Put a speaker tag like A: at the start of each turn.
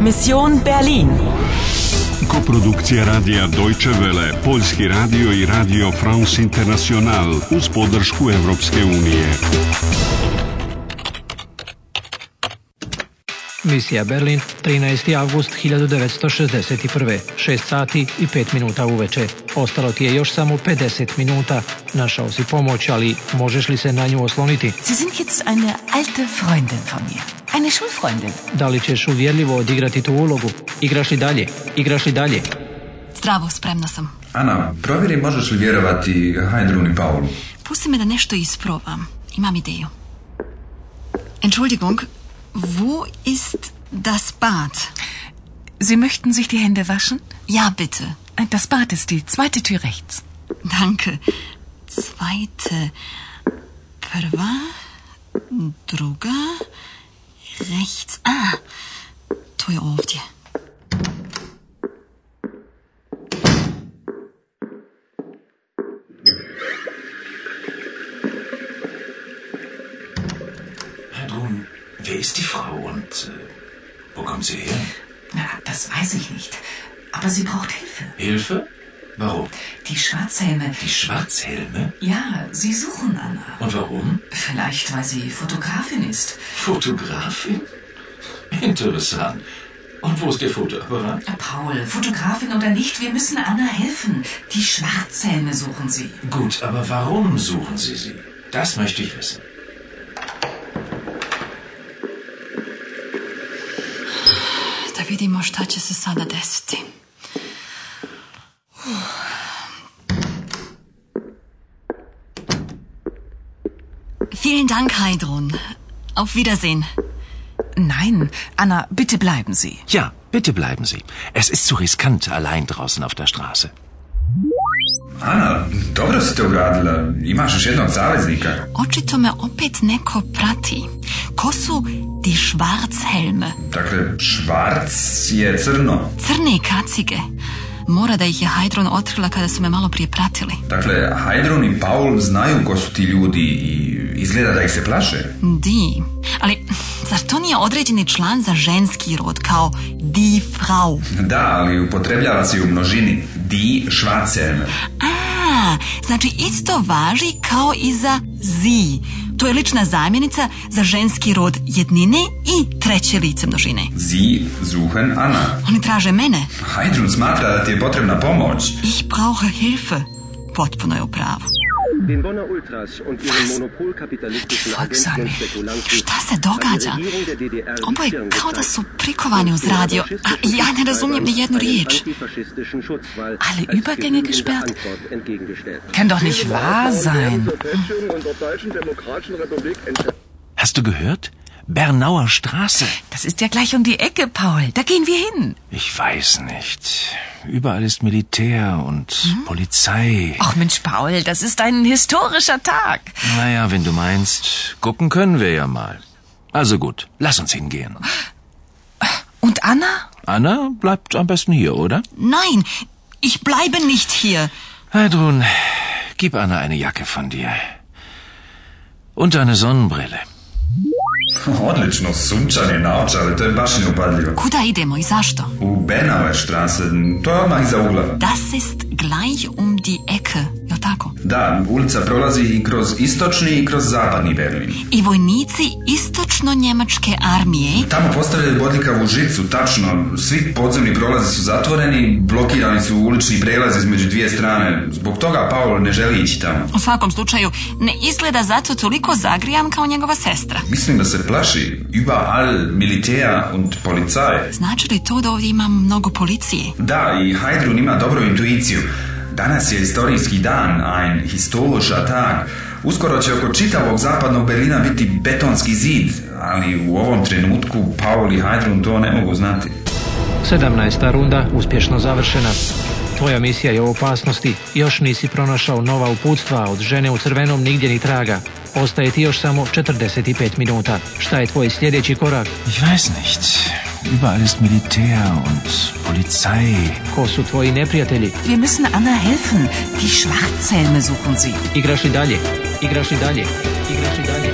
A: Mission Berlin.
B: Koprodukcija radija Deutsche Welle, Poljski radio i radio France International uz podršku Europske unije.
C: Misija Berlin, 13. avgust 1961. 6 sati i 5 minuta uveče. Ostalo ti je još samo 50 minuta. Našao si pomoć, ali možeš li se na nju osloniti?
D: Sie sind jetzt eine alte Freundin von mir. Eine Schulfreundin.
C: Da li ćeš uvjerljivo odigrati tu ulogu? Igraš li dalje? Igraš li dalje?
D: Zdravo, spremna sam.
E: Ana, provjeri možeš li vjerovati Heinrun i Paulu.
D: Pusti me da nešto isprobam. Imam ideju. Entschuldigung, wo ist das Bad?
F: Sie möchten sich die Hände waschen?
D: Ja, bitte.
F: Das Bad ist die zweite Tür rechts.
D: Danke. Zweite. Prva. Druga. Rechts. Ah. To je ovdje.
G: Nun, wer ist die Frau und äh, wo kommt sie her?
F: Na, das weiß ich nicht. Aber sie braucht Hilfe.
G: Hilfe? Warum?
F: Die Schwarzhelme.
G: Die Schwarzhelme?
F: Ja, sie suchen Anna.
G: Und warum?
F: Vielleicht, weil sie Fotografin ist.
G: Fotografin? Interessant. Und wo ist Ihr Fotoapparat?
F: Paul, Fotografin oder nicht, wir müssen Anna helfen. Die Schwarzhelme suchen sie.
G: Gut, aber warum suchen Sie sie? Das möchte ich wissen.
D: Da vidimo šta će se sada desiti. Vielen Dank, Heidrun. Auf Wiedersehen.
F: Nein, Anna, bitte bleiben Sie.
G: Ja, bitte bleiben Sie. Es ist zu riskant, allein draußen auf der Straße.
E: Ana, dobro si to uradila. Imaš još jednog saveznika.
D: Očito me opet neko prati. Ko su die Schwarzhelme?
E: Dakle, švarc je crno.
D: Crne i kacige. Mora da ih je Heidron otkrila kada su me malo prije pratili.
E: Dakle, Hydron i Paul znaju ko su ti ljudi i izgleda da ih se plaše.
D: Di. Ali, zar to nije određeni član za ženski rod, kao di frau?
E: Da, ali upotrebljava se i u množini. Di švarcem.
D: A, znači isto važi kao i za zi. To je lična zamjenica za ženski rod jednine i treće lice množine.
E: Sie suchen Ana.
D: Oni traže mene.
E: Hydron smatra da ti je potrebna pomoć.
D: Ich brauche Hilfe. Potpuno je u pravu.
H: Den Bonner Ultras und ihren monopolkapitalistischen Agenten
F: Volksarmee.
H: und Spekulanten
D: Šta se događa?
H: die Regierung der DDR
D: Ovo je
H: Schirm
D: kao da
H: stand.
D: su prikovani uz radio, a ja ne razumijem ni jednu riječ.
H: Antifaschistischen Schutzwall
F: Alle
H: als
F: Übergänge
H: genügende
F: gesperrt?
H: Antwort entgegengestellt.
F: Kann doch nicht wahr sein.
G: Hast du gehört? Bernauer Straße.
F: Das ist ja gleich um die Ecke, Paul. Da gehen wir hin.
G: Ich weiß nicht. Überall ist Militär und Polizei.
F: Ach Mensch, Paul, das ist ein historischer Tag.
G: Naja, wenn du meinst, gucken können wir ja mal. Also gut, lass uns hingehen.
F: Und Anna?
G: Anna bleibt am besten hier, oder?
D: Nein, ich bleibe nicht hier.
G: Heidrun, gib Anna eine Jacke von dir. Und eine Sonnenbrille.
E: Odlično, sunčane naočale, to je baš neupadljivo.
D: Kuda idemo i zašto?
E: U Benauer Straße, to je odmah iza ugla.
D: Das ist gleich um die Ecke, jel tako?
E: Da, ulica prolazi i kroz istočni i kroz zapadni Berlin.
D: I vojnici istočno-njemačke armije
E: Tamo postavljaju bodljikavu žicu, tačno, svi podzemni prolazi su zatvoreni, blokirani su ulični prelazi između dvije strane. Zbog toga Paul ne želi ići tamo.
D: u svakom slučaju ne izgleda zato toliko zagrijan kao njegova sestra.
E: Mislim da se plaši überall Militär und Polizei.
D: Znači li to da ovdje ima mnogo policije?
E: Da, i Heidrun ima dobru intuiciju. Danas je historijski dan, ein historischer Tag. Uskoro će oko čitavog zapadnog Berlina biti betonski zid, ali u ovom trenutku Paul i Heidrun to ne mogu znati.
C: 17. runda uspješno završena. Tvoja misija je u opasnosti. Još nisi pronašao nova uputstva, a od žene u crvenom nigdje ni traga. Ostaje ti još samo 45 minuta. Šta je tvoj sljedeći korak?
G: Ich weiß nicht. Überall ist Militär und Polizei.
C: Ko su tvoji neprijatelji?
F: Wir müssen Anna helfen. Die Schwarzhelme suchen sie.
C: Igraš li dalje? Igraš li dalje? Igraš li dalje?